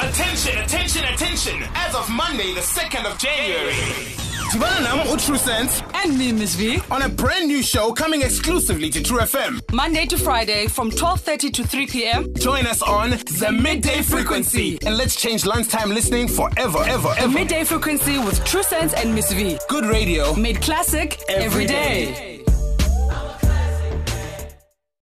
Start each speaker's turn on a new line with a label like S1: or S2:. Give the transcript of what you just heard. S1: Attention, attention, attention. As of Monday, the 2nd of January. Tibananam Utru Sense
S2: And me, Miss V.
S1: on a brand new show coming exclusively to True FM.
S2: Monday to Friday from 12.30 to 3 p.m.
S1: Join us on the midday frequency and let's change lunchtime listening forever, ever, ever.
S2: Midday frequency with True Sense and Miss V.
S1: Good radio.
S2: Made classic every
S1: Every
S2: day.
S1: day.